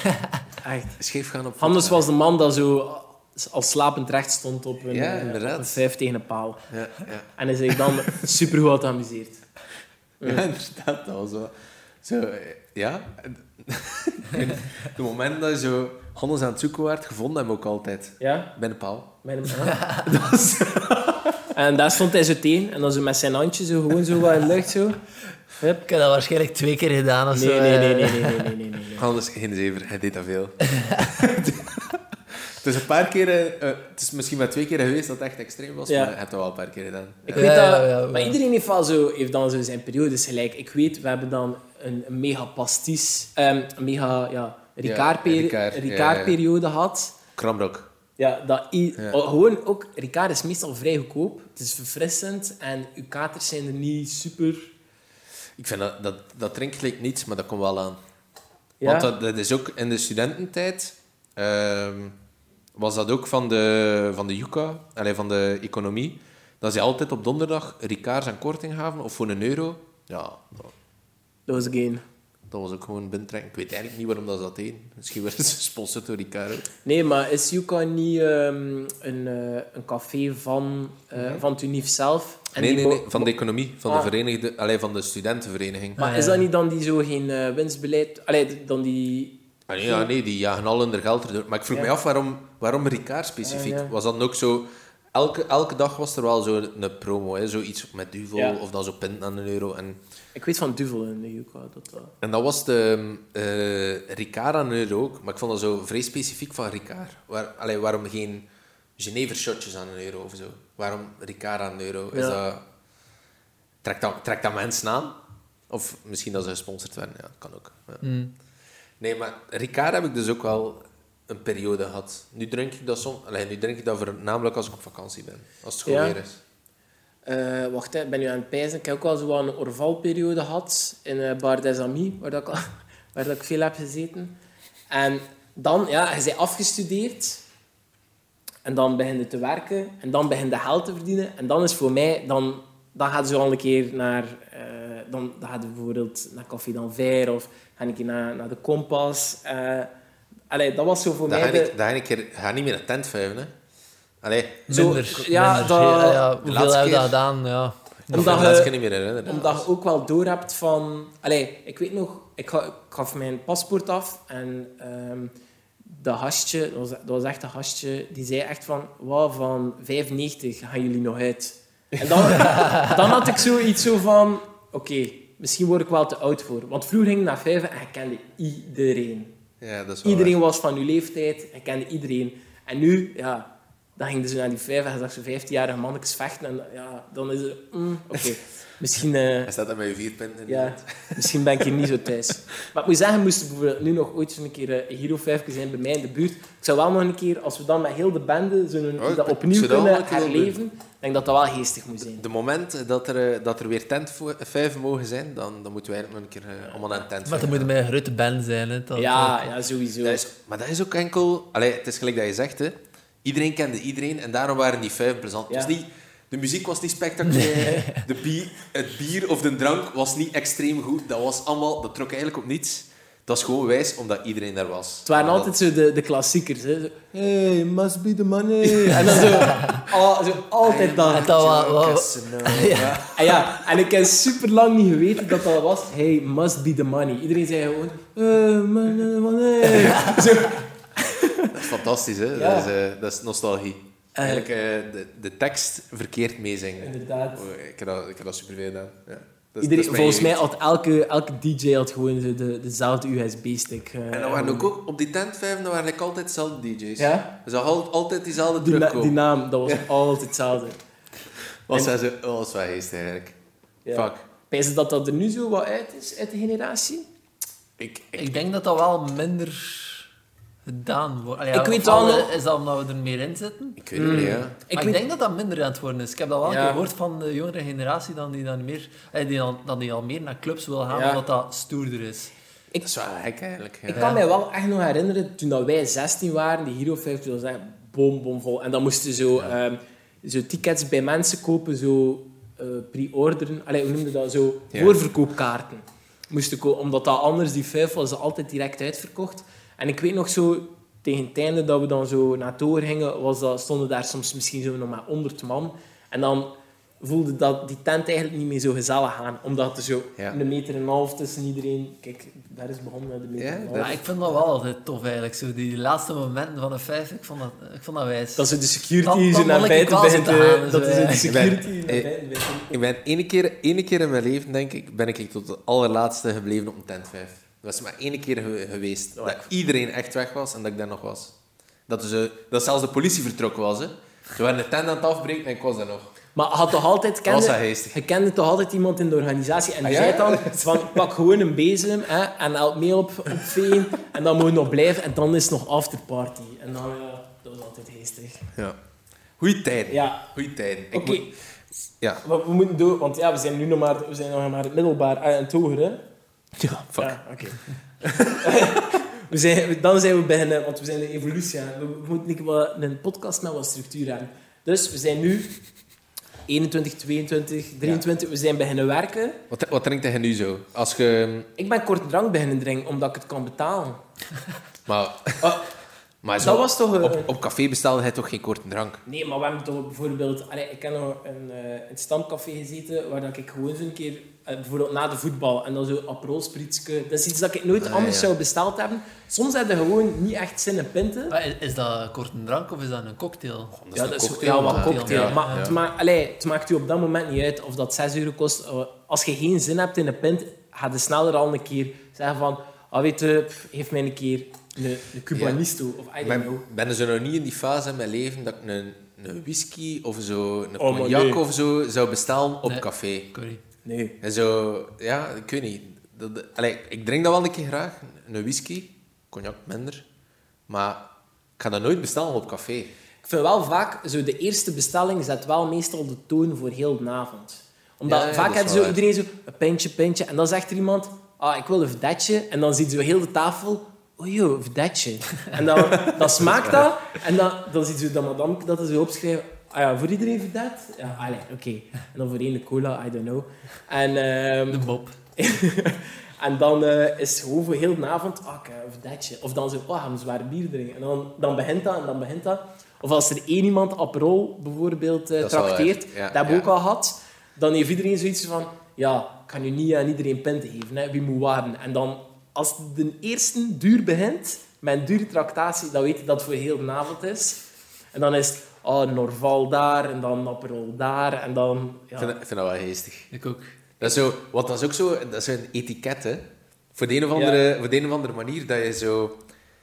Speaker 3: ja.
Speaker 1: Echt.
Speaker 2: Scheef gaan op
Speaker 1: Anders
Speaker 2: vodka.
Speaker 1: was de man dat zo als slapend recht stond op een,
Speaker 2: Ja,
Speaker 1: eh,
Speaker 2: inderdaad.
Speaker 1: op een vijf tegen een paal.
Speaker 2: Ja, ja.
Speaker 1: En hij zich dan supergoed geamuseerd.
Speaker 2: Ja, inderdaad, dat was wel... Zo, eh, ja. Het moment dat je zo Hannes aan het zoeken werd, gevonden hem ook altijd.
Speaker 1: Ja?
Speaker 2: Bij de paal.
Speaker 1: Met hem aan. Dat was- en daar stond hij zo tegen. En dan zo met zijn handje zo gewoon zo wat in de lucht zo. Hup.
Speaker 3: Ik heb dat waarschijnlijk twee keer gedaan of
Speaker 1: Nee,
Speaker 3: zo.
Speaker 1: nee, nee,
Speaker 3: eh.
Speaker 1: nee, nee, nee, nee, nee, nee, nee.
Speaker 2: Hannes, geen zever, hij deed dat veel. het is een paar keer... eh, eh, het is misschien maar twee keer geweest dat het echt extreem was,
Speaker 1: Ja.
Speaker 2: maar hij heeft dat wel een paar keer gedaan.
Speaker 1: Ik
Speaker 2: Ja.
Speaker 1: weet
Speaker 3: Ja,
Speaker 1: dat,
Speaker 3: ja, ja,
Speaker 1: maar
Speaker 3: ja.
Speaker 1: iedereen heeft, wel zo, heeft dan zo zijn periodes gelijk. Ik weet, we hebben dan een, een mega pastis, ehm, een mega ja, Ricard-peri-
Speaker 2: Ricard, ja, ja, ja.
Speaker 1: Ricard-periode gehad.
Speaker 2: Kramrok.
Speaker 1: Ja, dat i-
Speaker 2: Ja.
Speaker 1: oh, gewoon ook, Ricard is meestal vrij goedkoop. Het is verfrissend en uw katers zijn er niet super.
Speaker 2: Ik vind dat, dat, dat drinkt gelijk niets, maar dat komt wel aan.
Speaker 1: Ja,
Speaker 2: Want dat, dat is ook in de studententijd. ehm, was dat ook van de, van de Juca, allee, van de economie. Dat ze altijd op donderdag Ricards en korting gaven, of voor een euro. Ja, dat,
Speaker 1: dat was geen.
Speaker 2: dat was ook gewoon bintrekken. Ik weet eigenlijk niet waarom dat ze dat deden. Misschien werden ze gesponsord door Ricard. ook.
Speaker 1: Nee, maar is Yuka niet ehm, een, eh, een café van, eh, van het Unif zelf? En
Speaker 2: Nee,
Speaker 1: die
Speaker 2: nee,
Speaker 1: bo-
Speaker 2: nee, van de economie, van,
Speaker 1: Ah.
Speaker 2: de, verenigde, allee, van de studentenvereniging.
Speaker 1: Maar is dat niet dan die zo geen eh, winstbeleid... Allee, dan die...
Speaker 2: Ah, nee, ja, nee, die jagen al hun geld erdoor. Maar ik vroeg
Speaker 1: Ja.
Speaker 2: mij af waarom, waarom Ricard specifiek.
Speaker 1: Ah, ja.
Speaker 2: Was dat ook zo... Elke, elke dag was er wel zo'n promo, hè? zoiets met duvel
Speaker 1: Ja.
Speaker 2: of dan zo pint aan een euro. En,
Speaker 1: Ik weet van Duvel in de Yuka. Dat, dat-
Speaker 2: en dat was de eh Ricard aan een euro ook, maar ik vond dat zo vrij specifiek van Ricard. Waar, allee, waarom geen Genever shotjes aan een euro of zo? Waarom Ricard aan een euro? Is
Speaker 1: Ja.
Speaker 2: dat, trekt, dat, trekt dat mensen aan? Of misschien dat ze gesponsord werden, ja, dat kan ook. ja.
Speaker 1: Mm.
Speaker 2: Nee, maar Ricard heb ik dus ook wel een periode gehad. Nu drink ik dat soms, allee, nu drink ik dat voornamelijk als ik op vakantie ben, als het goed
Speaker 1: Ja.
Speaker 2: weer is.
Speaker 1: Eh, wacht, hè, ik ben nu aan het pijzen. Ik heb ook wel zo wat een Orval-periode gehad in eh Bar des Amis, waar, dat ik, al- waar dat ik veel heb gezeten. En dan, ja, je bent afgestudeerd. En dan begin je te werken. En dan begin je geld te verdienen. En dan is voor mij... Dan, dan gaat ze al een keer naar... eh, dan, dan gaat ze bijvoorbeeld naar Café d'Anver. Of ga ik naar, naar de Kompas. eh allee, dat was zo voor
Speaker 2: Dan ga
Speaker 1: mij... de-
Speaker 2: ik- dan ga ik er- ga niet meer een tent vuiven, hè. Allee,
Speaker 1: Zo,
Speaker 3: Minder.
Speaker 1: ja,
Speaker 3: minder.
Speaker 1: dat-
Speaker 3: ja, ja, hoeveel
Speaker 2: laatste
Speaker 3: hebben we dat
Speaker 2: keer-
Speaker 3: gedaan? Ja.
Speaker 2: dat
Speaker 1: Omdat
Speaker 2: kan
Speaker 1: je-
Speaker 2: ik me niet meer herinneren.
Speaker 1: Omdat je ook wel door hebt van... Allee, ik weet nog, ik, ga, ik gaf mijn paspoort af en ehm dat gastje, dat was, dat was echt een gastje, die zei echt van, wauw, van 95 gaan jullie nog uit. En dan, dan had ik zoiets zo van, oké, misschien word ik wel te oud voor. Want vroeger ging ik naar vijven en ik kende iedereen.
Speaker 2: Ja, dat is wel
Speaker 1: Iedereen was van uw leeftijd, ik kende iedereen. En nu, ja, dan ging ze naar die vijf en je zag ze 15-jarige mannetjes vechten. En ja, dan is het, mm, oké, misschien... eh,
Speaker 2: Hij staat daar met je vier punten in.
Speaker 1: ja, misschien ben ik hier niet zo thuis. Maar ik moet zeggen, moest er bijvoorbeeld nu nog ooit zo'n keer eh, een Hero 5 zijn bij mij in de buurt. Ik zou wel nog een keer, als we dan met heel de bende zo'n,
Speaker 2: Oh,
Speaker 1: dat
Speaker 2: ik-
Speaker 1: opnieuw
Speaker 2: ik zou dat wel
Speaker 1: kunnen
Speaker 2: een keer willen
Speaker 1: herleven, ik denk dat dat wel geestig moet zijn.
Speaker 2: De moment dat er, eh, dat er weer tent vo- vijf mogen zijn, dan, dan moeten wij eigenlijk nog een keer eh, allemaal naar een tent
Speaker 3: Maar
Speaker 2: vijven.
Speaker 3: dan moet je met een grote band zijn. Hè, dat-
Speaker 1: Ja, ja, sowieso.
Speaker 2: Dat is, maar dat is ook enkel... Allee, het is gelijk dat je zegt, hè. Iedereen kende iedereen en daarom waren die vijf plezant. Het
Speaker 1: Ja.
Speaker 2: was niet, de muziek was niet spectaculair, de bier, het bier of de drank was niet extreem goed. Dat was allemaal... Dat trok eigenlijk op niets. Dat is gewoon wijs, omdat iedereen daar was.
Speaker 1: Het waren
Speaker 2: Omdat-
Speaker 1: altijd zo de, de klassiekers. Hè. Zo, hey, must be the money. En dan zo, al- zo altijd dat.
Speaker 3: En dat wa- wa-
Speaker 2: Ja.
Speaker 1: En ja, en ik heb super lang niet geweten dat dat was. Hey, must be the money. Iedereen zei gewoon, hey, must be the money.
Speaker 2: Dat is fantastisch, hè?
Speaker 1: Ja.
Speaker 2: Dat, is, eh, dat is nostalgie. Eigenlijk eh, de, de tekst verkeerd meezingen.
Speaker 1: Inderdaad.
Speaker 2: Oh, ik, heb dat, ik heb dat superveel gedaan. Ja. Dat is- Dus dat is
Speaker 1: Iedereen,
Speaker 2: mijn
Speaker 1: volgens mij
Speaker 2: jeugd.
Speaker 1: had elke, elke DJ had gewoon de, de, dezelfde USB-stick. eh,
Speaker 2: En dan waren ook, ook op die tent vijf, dan waren ik altijd dezelfde DJ's.
Speaker 1: Ja?
Speaker 2: Ze hadden altijd diezelfde
Speaker 1: die, na-
Speaker 2: druk
Speaker 1: die naam, dat was altijd hetzelfde.
Speaker 2: Was zij zo, oh, dat is wel geestig eigenlijk.
Speaker 1: Ja.
Speaker 2: Fuck.
Speaker 1: Pijs je dat dat er nu zo wat uit is, uit de generatie?
Speaker 2: Ik, ik,
Speaker 3: Ik denk dat dat wel minder gedaan wordt. Allee, ja,
Speaker 1: Ik weet
Speaker 3: of al,
Speaker 1: wel nog-
Speaker 3: eh, Is dat omdat we er meer in zitten?
Speaker 2: ik weet
Speaker 1: Mm.
Speaker 2: het niet, ja.
Speaker 1: Ik
Speaker 3: Ik, maar
Speaker 1: weet-
Speaker 3: ik denk dat dat minder aan het worden is. Ik heb dat wel
Speaker 1: Ja.
Speaker 3: gehoord van de jongere generatie dan die, dan meer, eh, die, dan, dan die al meer naar clubs wil gaan,
Speaker 1: Ja.
Speaker 3: omdat dat stoerder is.
Speaker 2: Dat is wel gek eigenlijk. Ja.
Speaker 1: Ik kan mij wel echt nog herinneren, toen dat wij 16 waren, die Hero 50 was echt bom, bom vol. En dan moesten je zo, ehm, zo tickets bij mensen kopen, zo eh, pre-orderen. Allee, hoe noemde dat? Zo
Speaker 2: Ja.
Speaker 1: voorverkoopkaarten. Moesten kopen, omdat dat anders, die 5 was altijd direct uitverkocht. En ik weet nog zo, tegen het einde dat we dan zo naar toren gingen, was dat, stonden daar soms misschien zo nog maar 100 man. En dan voelde dat die tent eigenlijk niet meer zo gezellig aan, omdat er zo
Speaker 2: Ja.
Speaker 1: een meter en een half tussen iedereen... Kijk, daar is begonnen met de meter
Speaker 2: Ja,
Speaker 1: en een half.
Speaker 2: dat-
Speaker 3: Maar ik vind dat wel altijd tof eigenlijk. Zo die laatste momenten van de vijf, ik vond dat, ik vond dat wijs.
Speaker 1: Dat ze de
Speaker 3: Dan-
Speaker 1: security
Speaker 3: dan
Speaker 1: zo naar
Speaker 3: wil ik
Speaker 1: buiten
Speaker 3: wel
Speaker 1: begint
Speaker 3: zitten
Speaker 1: te...
Speaker 3: halen,
Speaker 1: Dat
Speaker 3: zo,
Speaker 1: is
Speaker 3: ja.
Speaker 1: de security
Speaker 2: Ik
Speaker 1: naar
Speaker 2: ben- eh,
Speaker 1: buiten begint.
Speaker 2: Ik ben ene keer, ene keer in mijn leven, denk ik, ben ik tot de allerlaatste gebleven op een tent 5. Dat was maar ene keer ge- geweest.
Speaker 1: Oh,
Speaker 2: dat iedereen echt weg was en dat ik daar nog was. Dat, ze, dat zelfs de politie vertrokken was. Hè. Ze waren de tent aan het afbreken en ik was daar nog.
Speaker 1: Maar je had toch altijd...
Speaker 2: Dat was dat
Speaker 1: Kende,
Speaker 2: geestig.
Speaker 1: je kende toch altijd iemand in de organisatie en die
Speaker 2: Ah,
Speaker 1: zei
Speaker 2: ja?
Speaker 1: dan van pak gewoon een bezem hè, en help mee op, op veen en dan moet je nog blijven en dan is het nog afterparty. En dan, ja, dat was altijd geestig.
Speaker 2: Ja. Goeie tijden.
Speaker 1: Ja,
Speaker 2: Goeie tijden. Ik
Speaker 1: oké.
Speaker 2: moet- Ja.
Speaker 1: We, we moeten door, want ja, we zijn nu nog maar, we zijn nog maar in het middelbaar en het hoger, hè.
Speaker 2: Ja, fuck.
Speaker 1: Ja, oké. we zijn, dan zijn we beginnen, want we zijn de evolutie aan. We moeten een, keer wat- een podcast met wat structuur aan. Dus we zijn nu 21, 22, 23. We zijn beginnen werken.
Speaker 2: Wat, wat drinkt hij nu zo? Als je...
Speaker 1: Ik ben kort drank beginnen drinken, omdat ik het kan betalen.
Speaker 2: Maar,
Speaker 1: Ah,
Speaker 2: maar zo,
Speaker 1: dat was toch... eh,
Speaker 2: op, op café bestelde hij toch geen korte drank?
Speaker 1: Nee, maar we hebben toch bijvoorbeeld... Allee, ik heb nog een, eh een stamcafé gezeten, waar dat ik gewoon zo'n keer... eh, bijvoorbeeld na de voetbal, en dan zo aprolsprietske. Dat is iets dat ik nooit
Speaker 2: Ah,
Speaker 1: anders
Speaker 2: ja.
Speaker 1: zou besteld hebben. Soms heb je gewoon niet echt zin in pinten.
Speaker 3: Maar is, is dat kort een drank of is dat een cocktail?
Speaker 2: Dat
Speaker 1: Ja,
Speaker 2: een
Speaker 1: dat is
Speaker 2: cocktail,
Speaker 1: ja, wat
Speaker 2: maar-
Speaker 1: cocktail.
Speaker 3: ja,
Speaker 1: maar
Speaker 2: ja.
Speaker 1: Het, maakt, allee, het maakt u op dat moment niet uit of dat 6 euro kost. Eh, Als je geen zin hebt in een pint, ga je sneller al een keer zeggen van... Ah, weet je, pff, geef mij een keer een, een Cubanisto. Of I don't
Speaker 2: Maar
Speaker 1: know.
Speaker 2: ik ben zo nog niet in die fase in mijn leven dat ik een, een whisky of zo, een
Speaker 1: Oh, maar
Speaker 2: cognac
Speaker 1: nee.
Speaker 2: of zo zou bestellen op
Speaker 3: Nee.
Speaker 2: café.
Speaker 3: Corrie.
Speaker 1: Nee.
Speaker 2: En zo, ja, ik weet niet. Dat, dat- allee, ik drink dat wel een keer graag, een whisky, cognac minder. Maar ik ga dat nooit bestellen op café.
Speaker 1: Ik vind wel vaak, zo de eerste bestelling zet wel meestal de toon voor heel de avond. Omdat
Speaker 2: Ja, ja, dat
Speaker 1: vaak
Speaker 2: is
Speaker 1: hebben
Speaker 2: wel
Speaker 1: zo
Speaker 2: waar.
Speaker 1: iedereen zo een pintje, pintje. En dan zegt er iemand, ah, ik wil een detje. En dan ziet zo heel de tafel, oei, oei, verdetje. En dan, dan smaakt dat. En dan, dan ziet ze dat madame dat is zo opschrijven. Ah ja, voor iedereen verdet? Ja, allee, oké. En dan voor één de cola, I don't know. En, ehm,
Speaker 3: De mop.
Speaker 1: en dan eh, is gewoon voor heel de avond, ah, ik heb een verdetje. Of dan zo, oh, gaan we zwaar bier drinken. En dan, dan begint dat en dan begint dat. Of als er één iemand Aperol bijvoorbeeld eh
Speaker 2: Dat is wel
Speaker 1: trakteert,
Speaker 2: waar, ja,
Speaker 1: dat heb ik
Speaker 2: ja.
Speaker 1: ook al gehad, dan heeft iedereen zoiets van, ja, ik kan nu niet aan iedereen pinten geven, hè. wie moet wat hebben. En dan, als de eerste duur begint, met een dure tractatie, dan weet je dat het voor heel de avond is. En dan is het, oh, Norval daar, en dan Aperol daar, en dan...
Speaker 2: Ik
Speaker 1: Ja.
Speaker 2: vind, dat- ik vind dat wel geestig.
Speaker 3: Ik ook.
Speaker 2: Dat is zo, want dat is ook zo, dat is een etiket, hè. Voor de, een of andere, voor de een of andere manier dat je zo...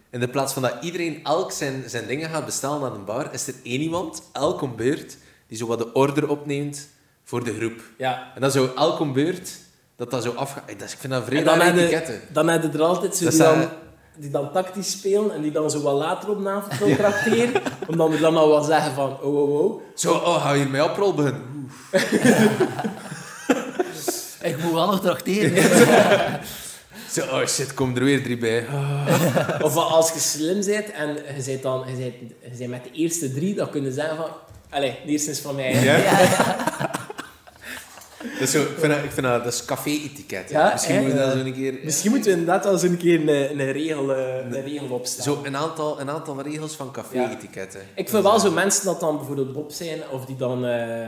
Speaker 2: In de plaats van dat iedereen elk zijn, zijn dingen gaat bestellen aan een bar, is er één iemand, elk om beurt, die zo wat de order opneemt voor de groep.
Speaker 1: ja,
Speaker 2: En dan zo elk om beurt, dat dat zo afgaat. Ik dat- ik vind dat
Speaker 1: En
Speaker 2: vreemd
Speaker 1: dan
Speaker 2: aan
Speaker 1: heb,
Speaker 2: etiketten.
Speaker 1: je, dan heb je er altijd zo
Speaker 2: Dat
Speaker 1: die,
Speaker 2: zijn-
Speaker 1: dan, die dan tactisch spelen en die dan zo wat later op de avond wil tracteren. Omdat we dan al wel zeggen van, oh, oh, oh.
Speaker 2: Zo, oh, hou je mij op, Robin?
Speaker 3: Ik moet wel nog trakteren.
Speaker 2: Zo, oh shit, komen er weer drie bij. Ah,
Speaker 1: Of van als je slim bent en je bent, dan, je bent, je bent met de eerste drie, dan kunnen ze zeggen van... Allee, de eerste is van mij. hè."
Speaker 2: Ja? Dat is zo, ik vind dat, ik vind dat, dat is café-etiket. hè.
Speaker 1: Ja,
Speaker 2: Misschien
Speaker 1: hè?
Speaker 2: moeten we dat zo een keer...
Speaker 1: Misschien moeten we inderdaad wel eens een keer een, een, regel, eh, een regel opstellen.
Speaker 2: Zo een aantal, een aantal regels van café-etiketten.
Speaker 1: Ik vind wel zo mensen dat dan bijvoorbeeld Bob zijn, of die dan, eh,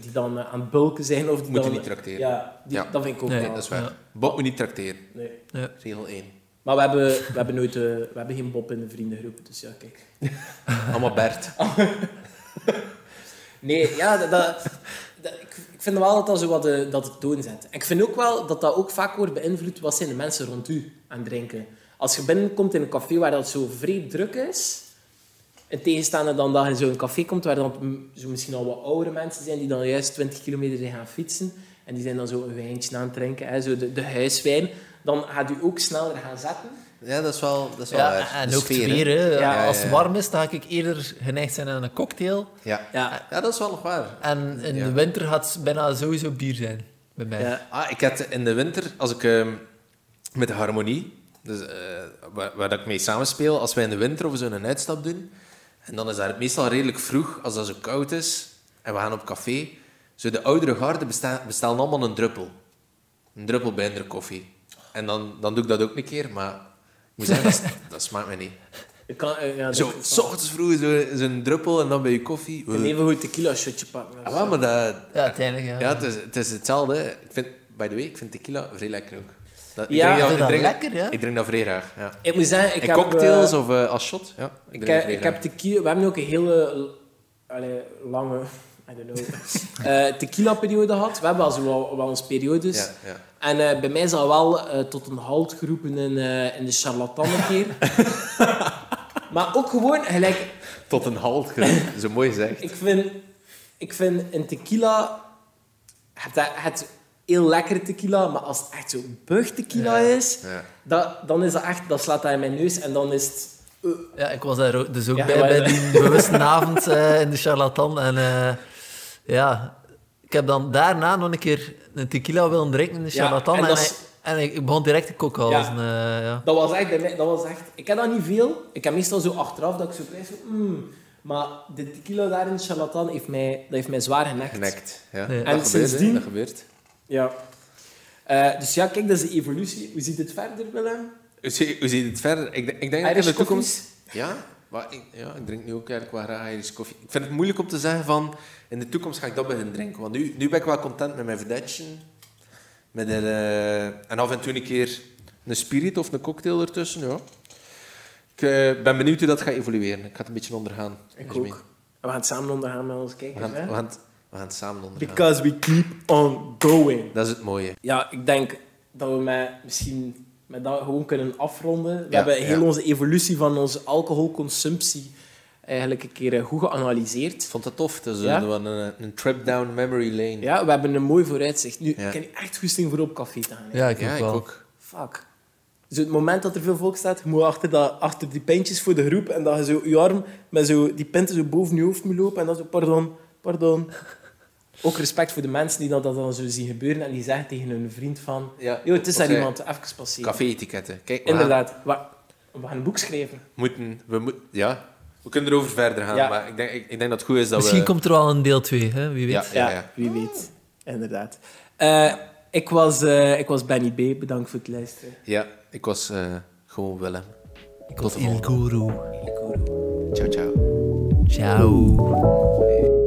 Speaker 1: die dan eh, aan het bulken zijn, of die
Speaker 2: Moet je
Speaker 1: dan...
Speaker 2: niet tracteren.
Speaker 1: Ja, die-
Speaker 2: Ja.
Speaker 1: dat vind ik ook
Speaker 3: Nee,
Speaker 2: Nee,
Speaker 1: wel.
Speaker 2: dat is waar.
Speaker 3: Ja.
Speaker 2: Bob moet niet tracteren.
Speaker 1: Nee.
Speaker 2: Regel 1.
Speaker 1: Maar we hebben, we hebben, nooit, eh, we hebben geen Bob in de vriendengroep, dus ja, kijk.
Speaker 2: Allemaal Bert.
Speaker 1: Nee, ja, dat, dat- dat- ik, ik vind wel dat dat zo wat de, dat het toon zet. En ik vind ook wel dat dat ook vaak wordt beïnvloed wat zijn de mensen rond u aan het drinken. Als je binnenkomt in een café waar dat zo vrij druk is, in tegenstaande dan dat je in zo'n café komt waar dan m- zo misschien al wat oudere mensen zijn die dan juist 20 kilometer zijn gaan fietsen en die zijn dan zo een wijntje aan het drinken, hè, zo de, de huiswijn, dan gaat u ook sneller gaan zetten.
Speaker 2: Ja, dat is wel, dat is wel
Speaker 3: Ja,
Speaker 2: waar.
Speaker 3: en
Speaker 2: De
Speaker 3: ook
Speaker 2: sfeer,
Speaker 3: sfeer,
Speaker 2: hè.
Speaker 3: hè.
Speaker 1: Ja.
Speaker 3: Als
Speaker 2: Ja,
Speaker 3: het
Speaker 2: ja, ja.
Speaker 3: warm is, dan ga ik eerder geneigd zijn aan een cocktail.
Speaker 2: Ja.
Speaker 1: Ja.
Speaker 2: ja, dat is wel nog waar.
Speaker 3: En in
Speaker 2: Ja.
Speaker 3: de winter gaat het bijna sowieso bier zijn. Bij mij.
Speaker 1: ja.
Speaker 2: Ah, ik had in de winter, als ik ehm, met de harmonie, dus, eh, waar, waar dat ik mee samenspeel, als wij in de winter of zo een uitstap doen, en dan is dat meestal redelijk vroeg, als dat zo koud is, en we gaan op café, zo de oudere garden besta- bestellen allemaal een druppel. Een druppel bij een koffie. En dan, dan doe ik dat ook een keer, maar ik moet zeggen, dat, dat smaakt me niet.
Speaker 1: Ik kan, eh, ja, dat-
Speaker 2: Zo, s ochtends vroeg zo- zo'n druppel en dan bij je koffie.
Speaker 1: Ik kan
Speaker 2: Eh.
Speaker 1: even goed tequila shotje pakken.
Speaker 2: Ah, wel, maar dat...
Speaker 3: Ja, uiteindelijk, ja.
Speaker 2: Ja, het is, het is hetzelfde. hè. Ik vind, by the way, ik vind tequila vrij lekker ook. Dat,
Speaker 1: Ja,
Speaker 2: drink
Speaker 1: ik
Speaker 3: vind dat
Speaker 2: drink
Speaker 3: lekker, hè?
Speaker 2: Ik drink dat vrij graag, ja.
Speaker 1: Ik moet zeggen, ik
Speaker 2: en
Speaker 1: heb,
Speaker 2: cocktails
Speaker 1: eh,
Speaker 2: of eh, als shot, ja. Ik,
Speaker 1: ik
Speaker 2: drink
Speaker 1: heb,
Speaker 2: vrij
Speaker 1: ik heb
Speaker 2: graag.
Speaker 1: tequila... We hebben ook een hele allee, lange... I don't know. eh, tequila-periode gehad. We hebben al zo wel, wel eens periodes.
Speaker 2: Ja, ja.
Speaker 1: En eh, bij mij is dat wel eh, tot een halt geroepen in, eh, in de charlatan een keer. maar ook gewoon, gelijk...
Speaker 2: Tot een halt, gerust. zo mooi gezegd.
Speaker 1: Ik vind, ik vind een tequila... Het, het heel lekkere tequila, maar als het echt zo bug tequila is...
Speaker 2: Ja.
Speaker 1: Dat, dan is dat echt... Dat slaat dat in mijn neus en dan is het...
Speaker 3: Ja, ik was daar ook- dus ook
Speaker 1: Ja,
Speaker 3: bij,
Speaker 1: maar-
Speaker 3: bij die bewuste avond eh, in de charlatan. En eh, ja, ik heb dan daarna nog een keer een tequila willen drinken in de
Speaker 1: Ja,
Speaker 3: charlatan.
Speaker 1: en
Speaker 3: en
Speaker 1: dat
Speaker 3: hij-
Speaker 1: is-
Speaker 3: en, ik, ik begon direct te kokhalzen. Ja. eh, ja.
Speaker 1: Dat was echt bij mij, dat was echt... Ik heb dat niet veel. Ik heb meestal zo achteraf dat ik zo prijs van... "Mm." Maar de tequila daar in Charlatan heeft mij, dat heeft mij zwaar genekt.
Speaker 2: Genekt, ja.
Speaker 3: Nee.
Speaker 2: Dat
Speaker 1: En
Speaker 2: gebeurt,
Speaker 1: sindsdien-
Speaker 2: hè. Dat gebeurt.
Speaker 1: Ja. Eh, dus ja, kijk, dat is de evolutie. Hoe ziet het verder, Willem?
Speaker 2: Hoe zie, hoe zie je het verder? Ik, denk- ik denk dat in
Speaker 1: Irish
Speaker 2: de toekomst...
Speaker 1: coffees?
Speaker 2: Ja, maar ik, ja, ik drink nu ook eigenlijk wel graag Irish koffie. Ik vind het moeilijk om te zeggen van... In de toekomst ga ik dat beginnen drinken. Want nu, nu ben ik wel content met mijn verdetje. Met een, eh, en af en toe een keer een spirit of een cocktail ertussen, ja. Ik eh, ben benieuwd hoe dat gaat evolueren. Ik ga het een beetje ondergaan.
Speaker 1: Ik
Speaker 2: Dus mee.
Speaker 1: ook. We gaan het samen ondergaan met onze
Speaker 2: We
Speaker 1: kijkers,
Speaker 2: gaan,
Speaker 1: hè?
Speaker 2: we, gaan het, we gaan het samen ondergaan.
Speaker 1: Because we keep on going.
Speaker 2: Dat is het mooie.
Speaker 1: Ja, ik denk dat we met, misschien met dat gewoon kunnen afronden. We
Speaker 2: Ja,
Speaker 1: hebben heel
Speaker 2: ja.
Speaker 1: onze evolutie van onze alcoholconsumptie eigenlijk een keer eh, goed geanalyseerd.
Speaker 2: Ik vond dat tof. Dat is
Speaker 1: Ja?
Speaker 2: een, een, een trip down memory lane.
Speaker 1: Ja, we hebben een mooi vooruitzicht. Nu,
Speaker 2: Ja.
Speaker 1: ik heb nu echt goesting voor op café te gaan. hè.
Speaker 3: Ja, ik,
Speaker 2: Ja,
Speaker 3: ook
Speaker 2: ik
Speaker 3: wel.
Speaker 2: ook.
Speaker 1: Fuck. Dus het moment dat er veel volk staat, je moet achter, dat, achter die pintjes voor de groep en dat je zo je arm met zo die pinten zo boven je hoofd moet lopen en dan zo, pardon, pardon. Ook respect voor de mensen die dat, dat dan zo zien gebeuren en die zeggen tegen hun vriend van...
Speaker 2: Ja,
Speaker 1: Yo, het is
Speaker 2: wat
Speaker 1: daar
Speaker 2: zei-
Speaker 1: iemand, even passeren.
Speaker 2: Café-etiketten. Kijk, we gaan-
Speaker 1: Inderdaad. Wa- We gaan een boek schrijven.
Speaker 2: Moeten, we moet, ja, we kunnen erover verder gaan,
Speaker 1: Ja.
Speaker 2: maar ik denk, ik, ik denk dat het goed is dat
Speaker 3: Misschien
Speaker 2: we...
Speaker 3: komt er wel een deel 2, hè? wie weet.
Speaker 2: ja, ja,
Speaker 1: Ja,
Speaker 2: ja.
Speaker 1: wie weet. Inderdaad. Eh, ik, was, eh, ik was Benny B. Bedankt voor het luisteren.
Speaker 2: Ja, ik was eh, gewoon Willem.
Speaker 3: Ik was Il Guru.
Speaker 1: Ik hoor-
Speaker 2: Ciao, ciao.
Speaker 3: Ciao.